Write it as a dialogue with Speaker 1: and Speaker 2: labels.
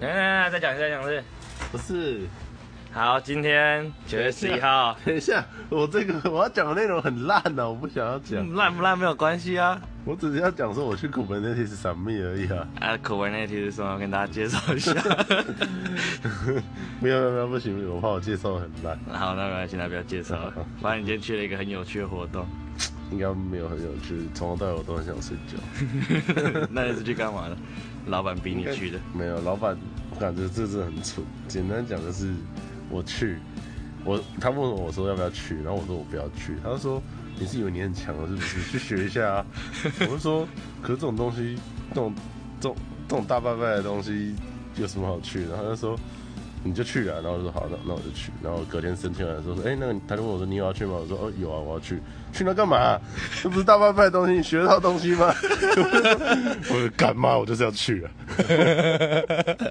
Speaker 1: 来来来，再讲一次，再讲一次。
Speaker 2: 不是，
Speaker 1: 好，今天九月十一号，
Speaker 2: 等一下，我这个我要讲的内容很烂啊呐、我不想要讲，
Speaker 1: 嗯烂不烂没有关系啊。
Speaker 2: 我只是要讲说我去 Kubernetes 扫密而已啊。
Speaker 1: 啊，口文那题是什么？我跟大家介绍 一下。
Speaker 2: 没有没有没有，不行，不行我怕我介绍得很烂，
Speaker 1: 好，那没关系，那不要介绍了。反正你今天去了一个很有趣的活 动，
Speaker 2: 应该没有很有趣，从头到尾我都很想睡觉。
Speaker 1: 那你是去干嘛的？老板逼你去的。
Speaker 2: 没有，老板，我感觉这是很蠢。简单讲就是，我去，我他问我说要不要去，然后我说我不要去，他就说你是以为你很强啊了是不是？去学一 下啊！我就说，可是这种东西，这种这种这种大拜拜的东西有什么好去？然后他就说。你就去啊，然后我就说好，那那我就去。然后隔天申请完的时候说，哎、那个他就问我说你有要去吗？我说哦有啊，我要去。去那干嘛、这不是大拜拜的东西，你 学得到东西吗？我就干嘛？我就是要去啊。